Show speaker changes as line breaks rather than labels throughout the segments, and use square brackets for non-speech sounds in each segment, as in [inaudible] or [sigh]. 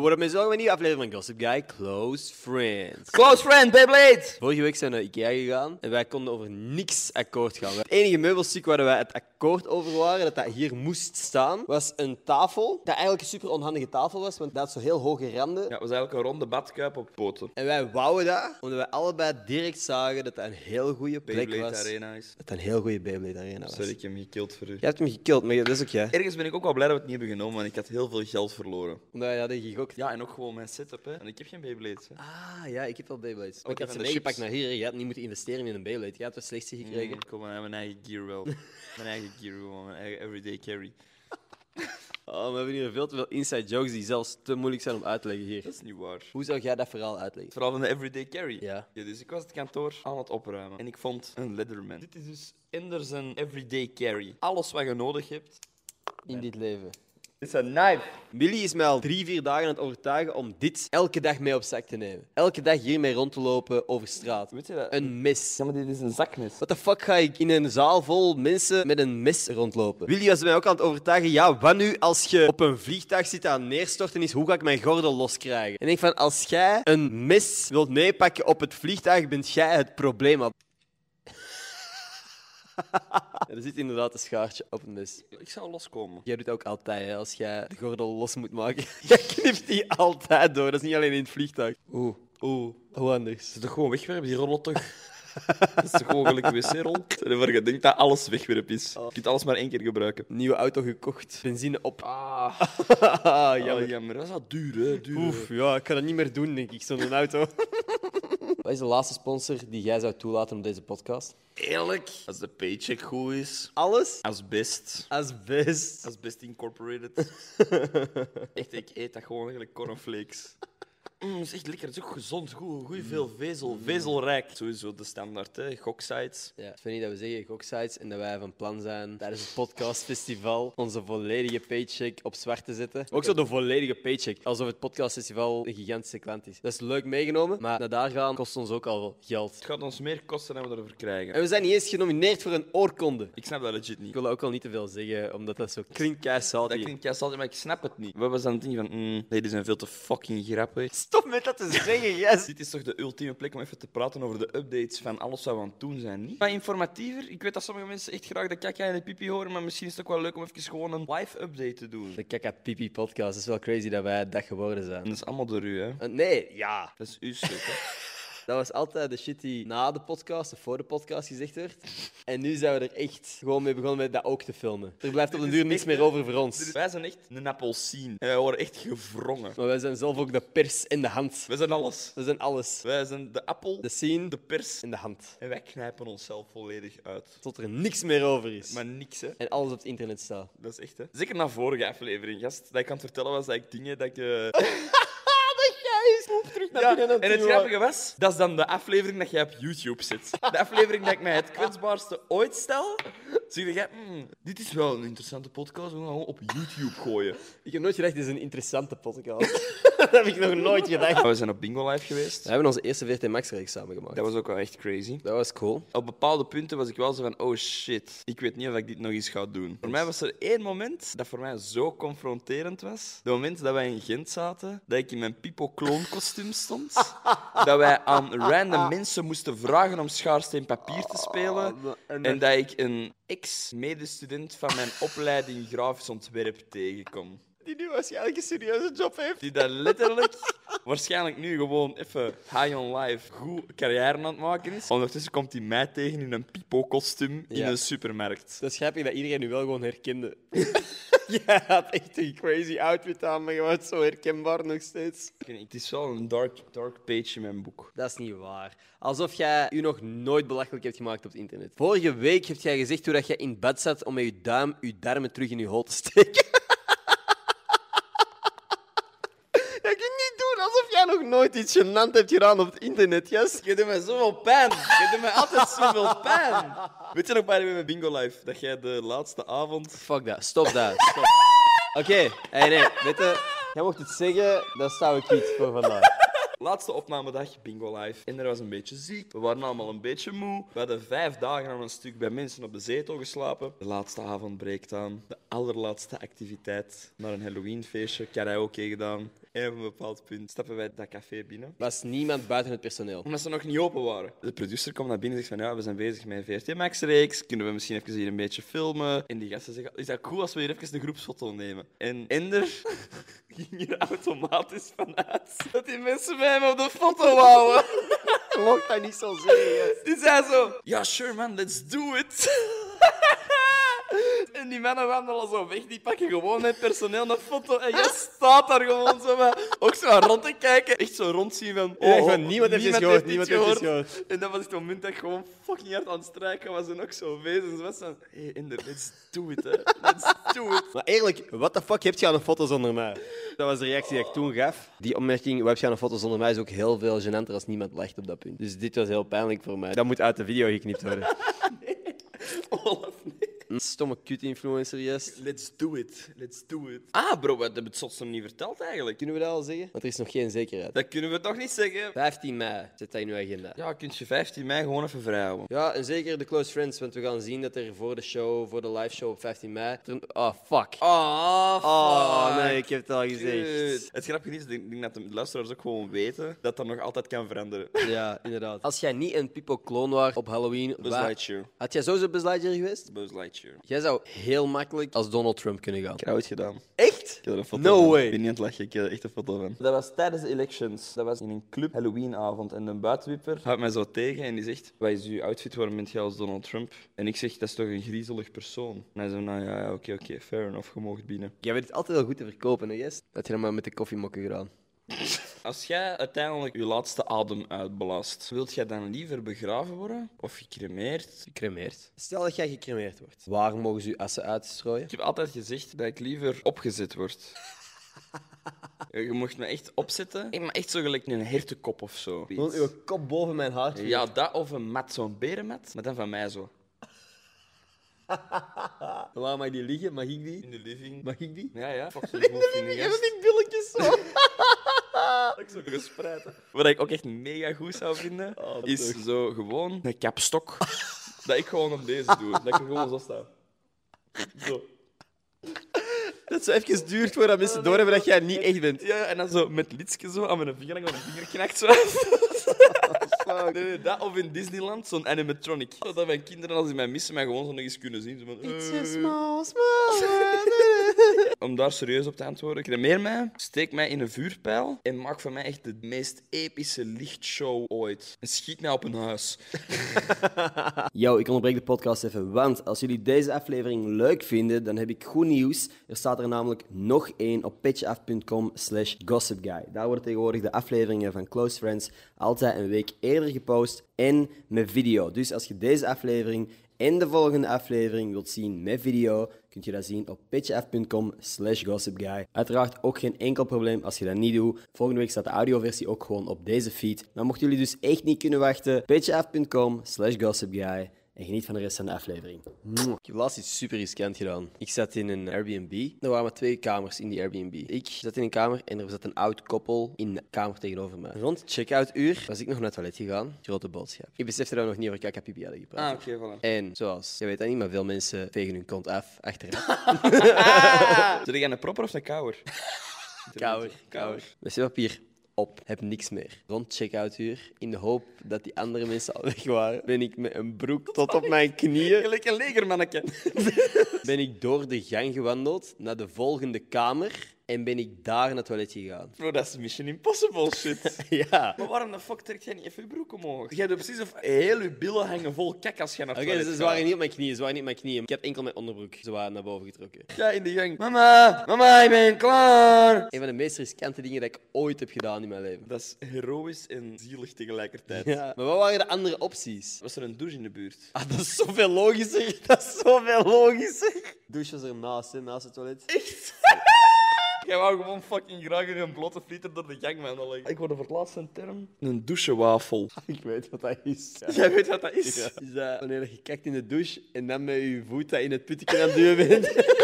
worden mensen ook een nieuwe aflevering van Gossip Guy Close Friends.
Close friend, Beyblade!
Vorige week zijn we naar Ikea gegaan en wij konden over niks akkoord gaan. Het enige meubelstuk waar wij het akkoord over waren, dat dat hier moest staan, was een tafel. Dat eigenlijk een super onhandige tafel was, want dat had zo heel hoge randen.
Ja, was eigenlijk een ronde badkuip op poten.
En wij wouden dat, omdat wij allebei direct zagen dat dat een heel goede plek
Beyblade
was.
Arena is.
Dat dat een heel goede Beyblade Arena was.
Sorry, ik heb hem gekild voor u.
Jij hebt hem gekild, maar dat is ook jij.
Ergens ben ik ook wel blij dat we het niet hebben genomen, want ik had heel veel geld verloren.
Omdat wij hadden gegokt.
Ja, en ook gewoon mijn setup, hè. En ik heb geen Beyblade, hè.
Ah, ja, ik heb wel Beyblades. Maar
Oh,
ik
die
had ze
van de
meegepakt
chips.
naar hier. Je had niet moeten investeren in een Beyblade. Je had wel slechtste gekregen.
Ik kom aan mijn eigen gear [laughs] wel. mijn eigen gear wel, mijn eigen everyday carry.
Oh, we hebben hier veel te veel inside jokes die zelfs te moeilijk zijn om uit te leggen hier.
Dat is niet waar.
Hoe zou jij dat verhaal uitleggen?
Vooral van de everyday carry.
Ja.
dus ik was het kantoor aan het opruimen en ik vond een Leatherman. Dit is dus Enders een everyday carry. Alles wat je nodig hebt.
In dit leven.
Dit is een knife.
Millie is mij al drie, vier dagen aan het overtuigen om dit elke dag mee op zak te nemen. Elke dag hiermee rond te lopen over straat.
Weet je dat?
Een mes.
Ja, maar dit is een zakmes.
Wat de fuck ga ik in een zaal vol mensen met een mes rondlopen? Willy was mij ook aan het overtuigen. Ja, wat nu als je op een vliegtuig zit aan neerstorten is, hoe ga ik mijn gordel loskrijgen? En ik denk van, als jij een mes wilt meepakken op het vliegtuig, bent jij het probleem. Ab- [laughs] er zit inderdaad een schaartje op een mes.
Ik zou loskomen.
Jij doet dat ook altijd, hè, als jij de gordel los moet maken. [laughs] jij knipt die altijd door, dat is niet alleen in het vliegtuig. Oeh, oeh, hoe anders.
Ze toch gewoon wegwerpen, die rollen toch? [laughs] dat is toch gewoon gelijk een wc-rol? Stel je voor, je denkt dat alles wegwerp is. Je kunt alles maar één keer gebruiken.
Nieuwe auto gekocht, benzine op.
Ah,
Ah,
ja,
jammer.
maar dat is wel duur, hè. Duur.
Oef, ja, ik kan dat niet meer doen, denk ik, zo'n auto. [laughs] Wat is de laatste sponsor die jij zou toelaten op deze podcast?
Eerlijk. Als de paycheck goed is.
Alles?
Als best.
Als best.
Als best [laughs] incorporated. echt, ik eet dat gewoon eigenlijk [laughs] cornflakes. Mm, dat is echt lekker. Het is ook gezond. Goed, goed veel vezel. Vezelrijk. Sowieso de standaard, hè. Goksites.
Ja, het is niet dat we zeggen goksites en dat wij van plan zijn tijdens het podcastfestival onze volledige paycheck op zwart te zetten. Ook zo de volledige paycheck, alsof het podcastfestival een gigantische klant is. Dat is leuk meegenomen, maar naar daar gaan kost ons ook al wel geld.
Het gaat ons meer kosten dan we ervoor krijgen.
En we zijn niet eens genomineerd voor een oorkonde.
Ik snap dat legit niet.
Ik wil dat ook al niet te veel zeggen, omdat dat zo klinkt keisalt.
Dat klinkt juist altijd, maar ik snap het niet. Wat was dan het ding van, mm, nee, die zijn veel te fucking grappig.
Stop met dat te zeggen, [laughs] yes!
Dit is toch de ultieme plek om even te praten over de updates van alles wat we aan het doen zijn, niet? Maar informatiever, ik weet dat sommige mensen echt graag de kakka en de pipi horen, maar misschien is het ook wel leuk om even gewoon een live update te doen.
De Kaka Pipi podcast. Het is wel crazy dat wij dat geworden zijn.
En dat is allemaal door u, hè?
Eh, Nee, ja.
Dat is uw stuk, hè?
[laughs] Dat was altijd de shit die na de podcast of voor de podcast gezegd werd. En nu zijn we er echt gewoon mee begonnen met dat ook te filmen. Er blijft op de
Dit is
duur niks
echt,
meer
hè?
over voor ons.
Wij zijn echt een appelsien. En wij worden echt gevrongen.
Maar wij zijn zelf ook de pers en de hand.
Wij zijn alles.
We zijn alles.
Wij zijn de appel,
De scene,
de
de
pers,
en de hand.
en wij knijpen onszelf volledig uit.
Tot er niks meer over is.
Maar niks, hè?
En alles op het internet staat.
Dat is echt, hè? Zeker na vorige aflevering, gast. Dat ik aan het vertellen was dat ik dingen dat ik... eh, [laughs]
Jij is terug naar
Ja, en het grappige was, dat is dan de aflevering dat jij op YouTube zit. De aflevering dat ik mij het kwetsbaarste ooit stel. Zeg jij, "Hmm, dit is wel een interessante podcast, we gaan gewoon op YouTube gooien.
Ik heb nooit gedacht, dit is een interessante [laughs] podcast. dat heb ik nog nooit gedacht.
We zijn op Bingo Live geweest.
We hebben onze eerste VRT Max-reeks samen gemaakt.
Dat was ook wel echt crazy.
Dat was cool.
Op bepaalde punten was ik wel zo van, oh shit, ik weet niet of ik dit nog eens ga doen. Voor mij was er één moment dat voor mij zo confronterend was. De moment dat wij in Gent zaten, dat ik in mijn Pipo Kloon kostuum stond. dat wij aan random mensen moesten vragen om schaarsteen papier te spelen.
Ah,
En dat ik een ex-medestudent van mijn opleiding grafisch ontwerp tegenkom.
die nu waarschijnlijk een serieuze job heeft.
Die dat letterlijk, [laughs] waarschijnlijk nu gewoon even high on life, goed carrière aan het maken is. Ondertussen komt hij mij tegen in een pipo-kostuum in
Ja.
een supermarkt.
Dat is grappig dat iedereen nu wel gewoon herkende. [laughs] Jij had echt een crazy outfit aan, maar je was zo herkenbaar nog steeds.
Ik weet niet, Het is wel een dark, dark page in mijn boek.
Dat is niet waar. Alsof jij je nog nooit belachelijk hebt gemaakt op het internet. Vorige week heb jij gezegd hoe dat jij in bed zat om met je duim je darmen terug in je hol te [laughs] steken. Je kunt niet doen alsof jij nog nooit iets gênant hebt gedaan op het internet, yes?
Je doet me zoveel pijn. Je doet me altijd zoveel pijn. Weet je nog bij mijn bingo live? Dat jij de laatste avond...
Fuck dat, stop dat. Stop. Oké, hey, nee, weet je, jij mocht het zeggen, dat zou ik niet voor vandaag.
Laatste opnamedag, bingo live. En er was een beetje ziek. We waren allemaal een beetje moe. We hadden vijf dagen aan een stuk bij mensen op de zetel geslapen. De laatste avond breekt aan. De allerlaatste activiteit. Naar een Halloweenfeestje, karaoke gedaan. En op een bepaald punt stappen wij dat café binnen
Was niemand buiten het personeel.
omdat ze nog niet open waren. De producer komt naar binnen en zegt van ja, we zijn bezig met een VRT Max reeks. Kunnen we misschien even hier een beetje filmen? En die gasten zeggen, is dat cool als we hier even een groepsfoto nemen? En Ender [laughs] ging er automatisch vanuit dat die mensen bij hem op de foto wouden.
Mocht dat niet zo zeggen.
Die zei zo, ja sure man, let's do it. [laughs] En die mannen wandelen zo weg, die pakken gewoon met personeel een foto en jij staat daar gewoon zo van, ook zo aan rond te kijken. Echt zo rondzien van, oh,
Ja, gewoon, niemand heeft dit gehoord,
dit
niemand heeft dit gehoord.
En dat was het moment dat ik gewoon fucking hard aan het strijken was en ook zo wezens was van, hey, Ender, let's do it, hè. let's do it.
Maar eerlijk, what the fuck heb je aan een foto zonder mij? Dat was de reactie die ik toen gaf. Die opmerking, wat heb je aan een foto zonder mij, is ook heel veel gênanter als niemand lacht op dat punt. Dus dit was heel pijnlijk voor mij. Dat moet uit de video
[laughs]
geknipt worden.
Olaf, nee.
Een Stomme kut-influencer, yes.
Oh, Let's do it, let's do it. Ah bro, we hebben het soms nog niet verteld eigenlijk.
Kunnen we dat al zeggen? Want er is nog geen zekerheid.
Dat kunnen we toch niet zeggen.
15 mei, zet dat in uw agenda.
Ja, kun je 15 mei gewoon even vrijhouden.
Ja, en zeker de close friends, want we gaan zien dat er voor de show, voor de live show op 15 mei... er een- Oh, fuck.
Ah,
Oh,
fuck.
nee, ik heb het al gezegd.
Kut. Het grappige is, ik denk ik denk dat de luisteraars ook gewoon weten dat dat nog altijd kan veranderen.
Ja, inderdaad. Als jij niet een Pipo-kloon was op Halloween...
Buzz
waar-
Lightyear.
Had jij sowieso Buzz Lightyear geweest?
Buzz Lightyear. Ik
Jij zou heel makkelijk als Donald Trump kunnen gaan.
heb dat ooit gedaan. Ik
Echt?
heb er een foto
No
van.
way.
Ik ben niet aan het lachen, ik heb er echt een foto van. Dat was tijdens de elections. Dat was in een club Halloweenavond. En een buitenwieper houdt mij zo tegen en die zegt... Wat is uw outfit, waarom bent jij als Donald Trump? En ik zeg, dat is toch een griezelig persoon? En hij zo, nou ja, ja, oké, oké, fair enough, je mag binnen.
Jij weet het altijd wel goed te verkopen, hè, Jes? Dat je dan maar met de koffiemokken gedaan.
Als jij uiteindelijk je laatste adem uitblaast, wilt jij dan liever begraven worden of gecremeerd?
Gecremeerd. Stel dat jij gecremeerd wordt. Waar mogen ze je assen uitstrooien?
Ik heb altijd gezegd dat ik liever opgezet [laughs] word. Je mocht me echt opzetten. Ik maar echt zo gelijk een hertenkop of zo.
Gewoon uw kop boven mijn hart.
Ja, dat of een mat, zo'n berenmat. Maar dan van mij zo.
Waar mag die liggen? Mag ik die?
In de living.
Mag ik die?
Ja, ja. Fuck zo'n hoofd [laughs] in de
Even
gast.
die billetjes zo.
Dat ik zo gespreid heb. Wat ik ook echt mega goed zou vinden, is zo gewoon een kapstok. [laughs] dat ik gewoon op deze doe. Dat ik er gewoon zo sta. Zo.
Dat zo even duurt voordat mensen doorhebben dat jij niet echt bent.
Ja, en dan zo met liedje zo aan mijn vinger en aan mijn vinger knakt zo. Nee, nee, dat of in Disneyland, zo'n animatronic. Dat mijn kinderen, als die mij missen, mij gewoon zo nog eens kunnen zien. Zo van, eh.
small, small.
Om daar serieus op te antwoorden, cremeer mij, steek mij in een vuurpijl en maak van mij echt de meest epische lichtshow ooit. En schiet mij op een huis.
Yo, ik onderbreek de podcast even, want als jullie deze aflevering leuk vinden, dan heb ik goed nieuws. Er staat er namelijk nog één op pitchaf.com slash gossipguy. Daar worden tegenwoordig de afleveringen van Close Friends altijd een week eerder gepost en met video. Dus als je deze aflevering en de volgende aflevering wilt zien met video, kunt je dat zien op pitchaf.com slash gossipguy. Uiteraard ook geen enkel probleem als je dat niet doet. Volgende week staat de audioversie ook gewoon op deze feed. Maar mochten jullie dus echt niet kunnen wachten, pitchaf.com slash gossipguy. En geniet van de rest van de aflevering. Ik heb laatst iets super riskant gedaan. Ik zat in een Airbnb. Er waren maar twee kamers in die Airbnb. Ik zat in een kamer en er zat een oud koppel in de kamer tegenover mij. Rond check-out uur was ik nog naar het toilet gegaan. Grote boodschap. Ik besefte dat we nog niet over kakapipi hadden gepraat.
Ah, oké, voilà.
En zoals, je weet dat niet, maar veel mensen vegen hun kont af achteraf.
Zit jij een propper of een kouwer? Kouwer.
Wc-papier op, heb niks meer. Rond check-out uur, in de hoop dat die andere mensen al weg waren, ben ik met een broek tot op mijn knieën,
Gelijk een legermannetje.
ben ik door de gang gewandeld naar de volgende kamer en ben ik daar naar het toilet gegaan. [laughs]
Bro, dat is Mission Impossible shit.
Ja.
[laughs] Maar waarom de fuck trekt jij niet even je broek omhoog? Jij hebt precies of heel je billen hangen vol kak als jij naar het
Oké,
toilet
ze ze
gaat.
waren niet op mijn knieën, ze waren niet op mijn knieën. Ik heb enkel mijn onderbroek, ze waren naar boven getrokken.
Ja, in de gang. Mama, mama, ik ben klaar.
Een van de meest riskante dingen dat ik ooit heb gedaan in mijn leven.
Dat is heroïs en zielig tegelijkertijd.
Ja. Maar wat waren de andere opties?
Was er een douche in de buurt?
Ah, dat is zoveel logischer. [laughs] Dat is zoveel logischer. Douche was ernaast, hè, naast het toilet.
Jij wou gewoon fucking graag in een blote flieter door de gang wandelen. Ik hoorde voor het laatst een term. Een douchewafel.
Ik [laughs] weet wat dat is.
[laughs] Jij weet wat dat is?
Is dat [laughs] wanneer je kijkt in de douche en dan met je voet dat in het putje aan het duwen bent?
[laughs]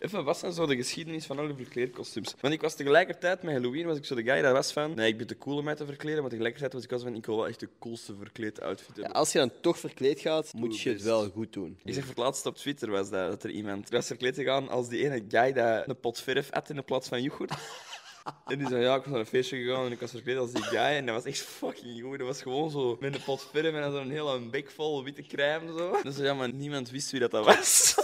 Even, wat zijn zo de geschiedenis van alle verkleedkostuums? Want ik was tegelijkertijd met Halloween, was ik zo de guy dat was van... Nee, ik ben te cool om mij te verkleden, maar tegelijkertijd was ik wel zo van... Ik wil wel echt de coolste verkleed outfit hebben.
Als je dan toch verkleed gaat, dus moet
het
je het
best.
wel goed doen.
Ik zeg voor het laatst op Twitter was dat, dat er iemand was verkleed gegaan als die ene guy dat een pot verf at in de plaats van [laughs] yoghurt. En die zei, ja, ik was naar een feestje gegaan en ik was verkleed als die guy. En dat was echt fucking goed. Dat was gewoon zo met een pot verf en dan zo'n hele bek vol witte crème. Zo. Dus ja, maar niemand wist wie dat, dat [laughs] was.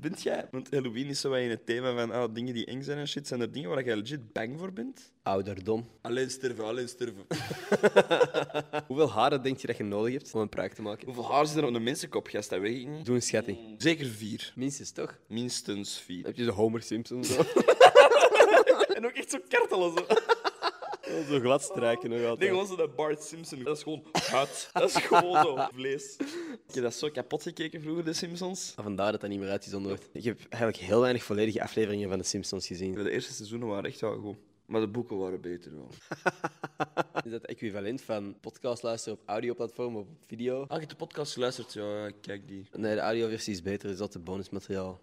bent jij? Want Halloween is zo wat in het thema van ah, dingen die eng zijn en shit. Zijn er dingen waar jij legit bang voor bent?
Ouderdom.
Alleen sterven, alleen sterven.
Ah, Hoeveel haren denk je dat je nodig hebt om een pruik te maken?
Hoeveel haar zit er op een mensenkop, gast? Dat weet ik niet.
Doe een schatting.
Zeker vier.
Minstens toch?
Minstens vier.
Dan heb je de Homer Simpson zo.
En ook echt zo kartelen. Zo.
[laughs] zo glad strijken nog
Nee,
altijd.
gewoon zo dat Bart Simpson. Dat is gewoon huid. Dat is gewoon zo vlees. Ik heb dat zo kapot gekeken vroeger, de Simpsons.
Ah, Vandaar dat dat niet meer uitgezonden wordt. Ik heb eigenlijk heel weinig volledige afleveringen van de Simpsons gezien.
De eerste seizoenen waren echt wel goed. Maar de boeken waren beter wel.
Is dat equivalent van podcast luisteren op audioplatform of op video?
Ah, je hebt de podcast geluisterd? Ja, ik kijk die.
Nee, de audioversie is beter, dus dat is bonusmateriaal.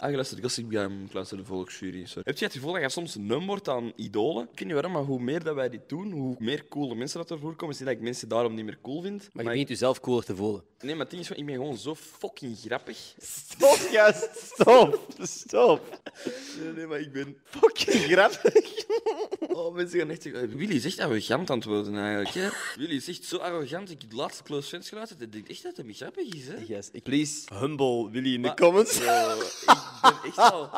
Ah, je luistert Gossip Game, ik luister de Volksjury. Sorry. Heb je het gevoel dat je soms num wordt aan idolen? Ik weet niet waarom, maar hoe meer dat wij dit doen, hoe meer coole mensen dat er voorkomen. Is niet dat ik mensen daarom niet meer cool vind.
Maar
Maar
je begint jezelf cooler te voelen.
ik- nee, maar het ding is, van, ik ben gewoon zo fucking grappig.
Stop, juist! Stop! Stop!
Nee, nee, maar ik ben
Fucking grappig!
[laughs] Oh, mensen gaan echt zeggen, Willy is echt arrogant aan het worden eigenlijk. Hè? Willy is echt zo arrogant. Ik heb de laatste Close Friends geluisterd en ik denk echt dat hij grappig is. Hè?
Yes, ik please humble Willy in de
Maar-
comments.
Zo, ik ben echt al...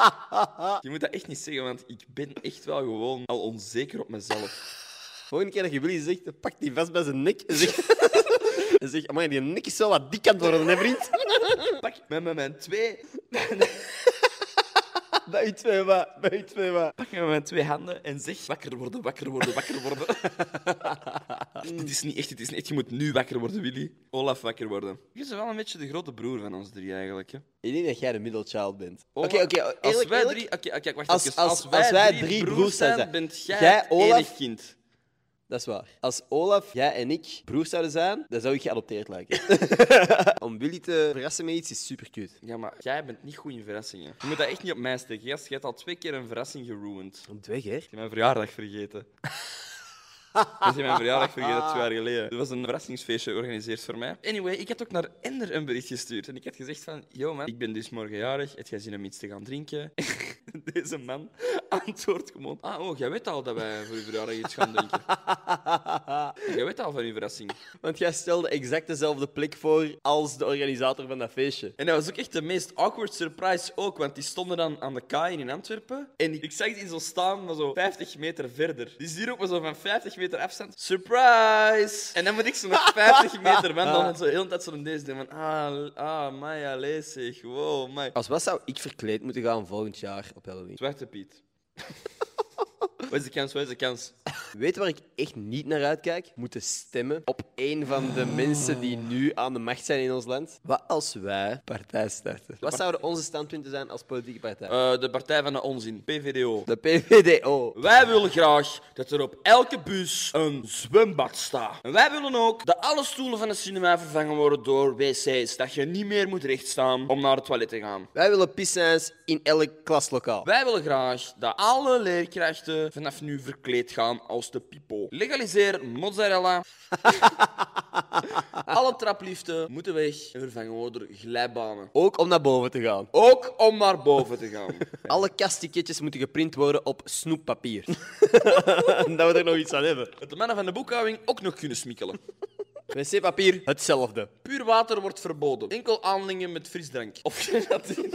Je moet dat echt niet zeggen, want ik ben echt wel gewoon al onzeker op mezelf.
[laughs] Volgende keer dat je Willy zegt, pak die vast bij zijn nek en zeg...
[laughs]
en zeg, amai, die nek is zo wat dik aan het worden, hè, vriend?
[laughs] Pak met
[laughs]
mijn twee,
bij u twee maar, bij u twee maar.
pak met mijn twee handen en zeg wakker worden, wakker worden, wakker worden. dit is niet echt, dit is niet echt. Je moet nu wakker worden, Willy. Olaf, wakker worden. Je is wel een beetje de grote broer van ons drie eigenlijk. Hè?
Ik denk dat jij de middelchild bent.
Oh,
Oké, oké,
maar
eerlijk,
Als wij
eerlijk,
drie... Oké, oké, wacht
Als-
even.
als- als wij drie broers zijn,
bent jij,
jij,
het
Olaf-
enig kind.
Dat is waar. Als Olaf, jij en ik broers zouden zijn, dan zou ik geadopteerd lijken. [laughs] Om Willy te verrassen met iets is super cute.
Ja, maar jij bent niet goed in verrassingen. Je moet dat echt niet op mij steken. Gast, jij hebt al twee keer een verrassing geruined.
Om twee keer?
Ik heb mijn verjaardag vergeten. Ik heb mijn verjaardag vergeten twee jaar geleden. Er was een verrassingsfeestje georganiseerd voor mij. Anyway, ik had ook naar Ender een bericht gestuurd. En ik had gezegd van, yo man, ik ben dus morgen jarig. Heb jij zin om iets te gaan drinken? [laughs] Deze man antwoordt gewoon, ah, oh, jij weet al dat wij voor je verjaardag iets gaan drinken. jij weet al van je verrassing.
Want jij stelde exact dezelfde plek voor als de organisator van dat feestje.
En dat was ook echt de meest awkward surprise ook, want die stonden dan aan de kaai in Antwerpen. En ik zag die zo staan, maar zo 50 meter verder. Die zien ook maar zo van 50 meter afstand. Surprise! En dan moet ik zo nog 50 meter wandelen en zo heel de tijd zo in deze ding van ah, ah, Maya, lezig, wow, my.
Als wat zou ik verkleed moeten gaan volgend jaar op Halloween?
Zwarte Piet. [laughs] Wat is de kans, wat is de kans?
Weet je waar ik echt niet naar uitkijk? Moeten stemmen op een van de mensen die nu aan de macht zijn in ons land. Wat als wij partij starten? Wat zouden onze standpunten zijn als politieke partij?
Eh, de Partij van de Onzin, PVDO.
De PVDO.
Wij willen graag dat er op elke bus een zwembad staat. En wij willen ook dat alle stoelen van de cinema vervangen worden door wc's. Dat je niet meer moet rechtstaan om naar het toilet te gaan.
Wij willen pissens in elk klaslokaal.
Wij willen graag dat alle leerkrachten vanaf nu verkleed gaan als de pipo. Legaliseer mozzarella. alle traplieften moeten weg en vervangen worden door glijbanen.
Ook om naar boven te gaan.
Ook om naar boven te gaan.
[laughs] Alle kastticketjes moeten geprint worden op snoeppapier. [laughs] dat we er nog iets aan hebben.
Dat de mannen van de boekhouding ook nog kunnen smikkelen.
Wc-papier, hetzelfde.
Puur water wordt verboden. Enkel aanlingen met frisdrank. Of [laughs] gelatin.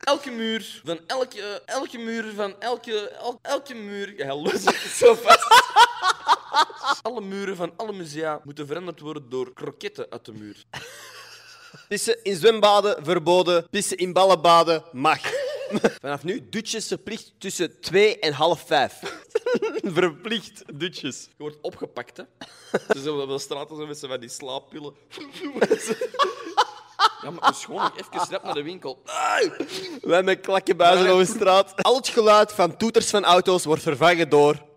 Elke muur van elke, elke muur van elke, el- elke muur. Ja, los het [laughs] zo vast. Alle muren van alle musea moeten veranderd worden door kroketten uit de muur.
Pissen in zwembaden verboden, pissen in ballenbaden [laughs] mag. Vanaf nu dutjes verplicht tussen 2 en half 5. [laughs] verplicht dutjes.
Je wordt opgepakt, hè? Ze zullen wel straten zo met z'n van die slaappillen. Ja, maar dus gewoon nog even snel naar de winkel. Ai!
Wij met klakkenbuizen
Maar-
over straat. Al het geluid van toeters van auto's wordt vervangen door.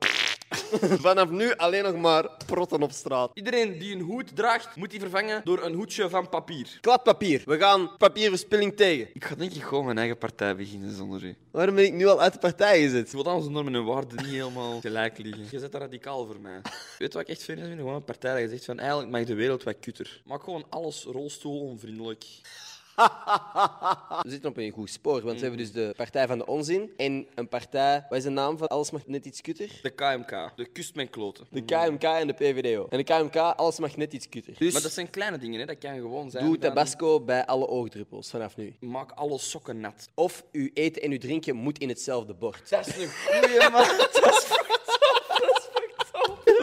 [laughs] Vanaf nu alleen nog maar protten op straat.
Iedereen die een hoed draagt, moet die vervangen door een hoedje van papier.
Kladpapier. We gaan papierverspilling tegen.
Ik ga denk ik gewoon mijn eigen partij beginnen zonder u.
Waarom ben ik nu al uit de partij gezet?
Ik wil aan onze normen en waarden niet [laughs] helemaal gelijk liggen. Je zet dat radicaal voor mij. Weet je wat ik echt vind? Ik vind Gewoon een partij dat je zegt van eigenlijk maakt de wereld wat kutter. Maak gewoon alles rolstoelonvriendelijk.
We zitten op een goed spoor, want we hebben dus de Partij van de Onzin en een partij... Wat is de naam van? Alles mag net iets kutter?
De KMK, de kust mijn kloten.
De KMK en de PVDO. En de KMK, alles mag net iets kutter. Dus
Maar dat zijn kleine dingen, hè? dat kan gewoon zijn.
doe
van,
tabasco bij alle oogdruppels vanaf nu.
Maak alle sokken nat.
Of uw eten en uw drinken moet in hetzelfde [laughs] bord.
Dat is een goeie [laughs] man.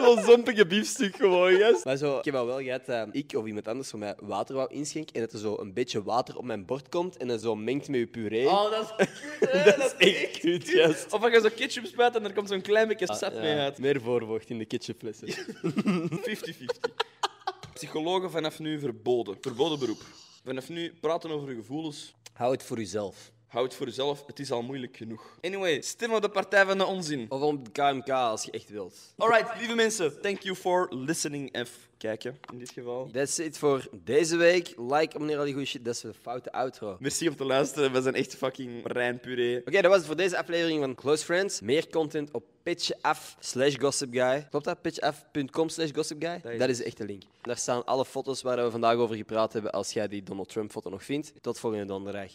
Zo'n zompige biefstuk gewoon, yes. Maar zo, ik heb al wel gehad dat ik of iemand anders voor mij water wou inschenken en dat er zo een beetje water op mijn bord komt en dat zo mengt met uw puree.
Oh, dat is cute, hè?
dat is echt cute, yes.
Of als je zo ketchup spuit en er komt zo'n klein beetje sap mee
Ja,
uit.
Meer voorvocht in de ketchupflessen.
50-50. Psychologen vanaf nu verboden. Verboden beroep. Vanaf nu praten over je gevoelens.
Hou het voor uzelf.
Houd het voor jezelf, het is al moeilijk genoeg. Anyway, stem op de partij van de onzin.
Of om de KMK als je echt wilt.
Alright, lieve mensen, thank you for listening en f- kijken in dit geval.
That's it voor deze week. Like, abonneer, al die goede shit. Dat is een foute outro. Oké,
Merci om te luisteren, we zijn echt fucking rein puree.
dat was het voor deze aflevering van Close Friends. Meer content op pitjeaf slash gossipguy. Klopt dat? pitjeaf.com slash gossipguy?
is-
Dat is echt de link. Daar staan alle foto's waar we vandaag over gepraat hebben, als jij die Donald Trump foto nog vindt. Tot volgende donderdag.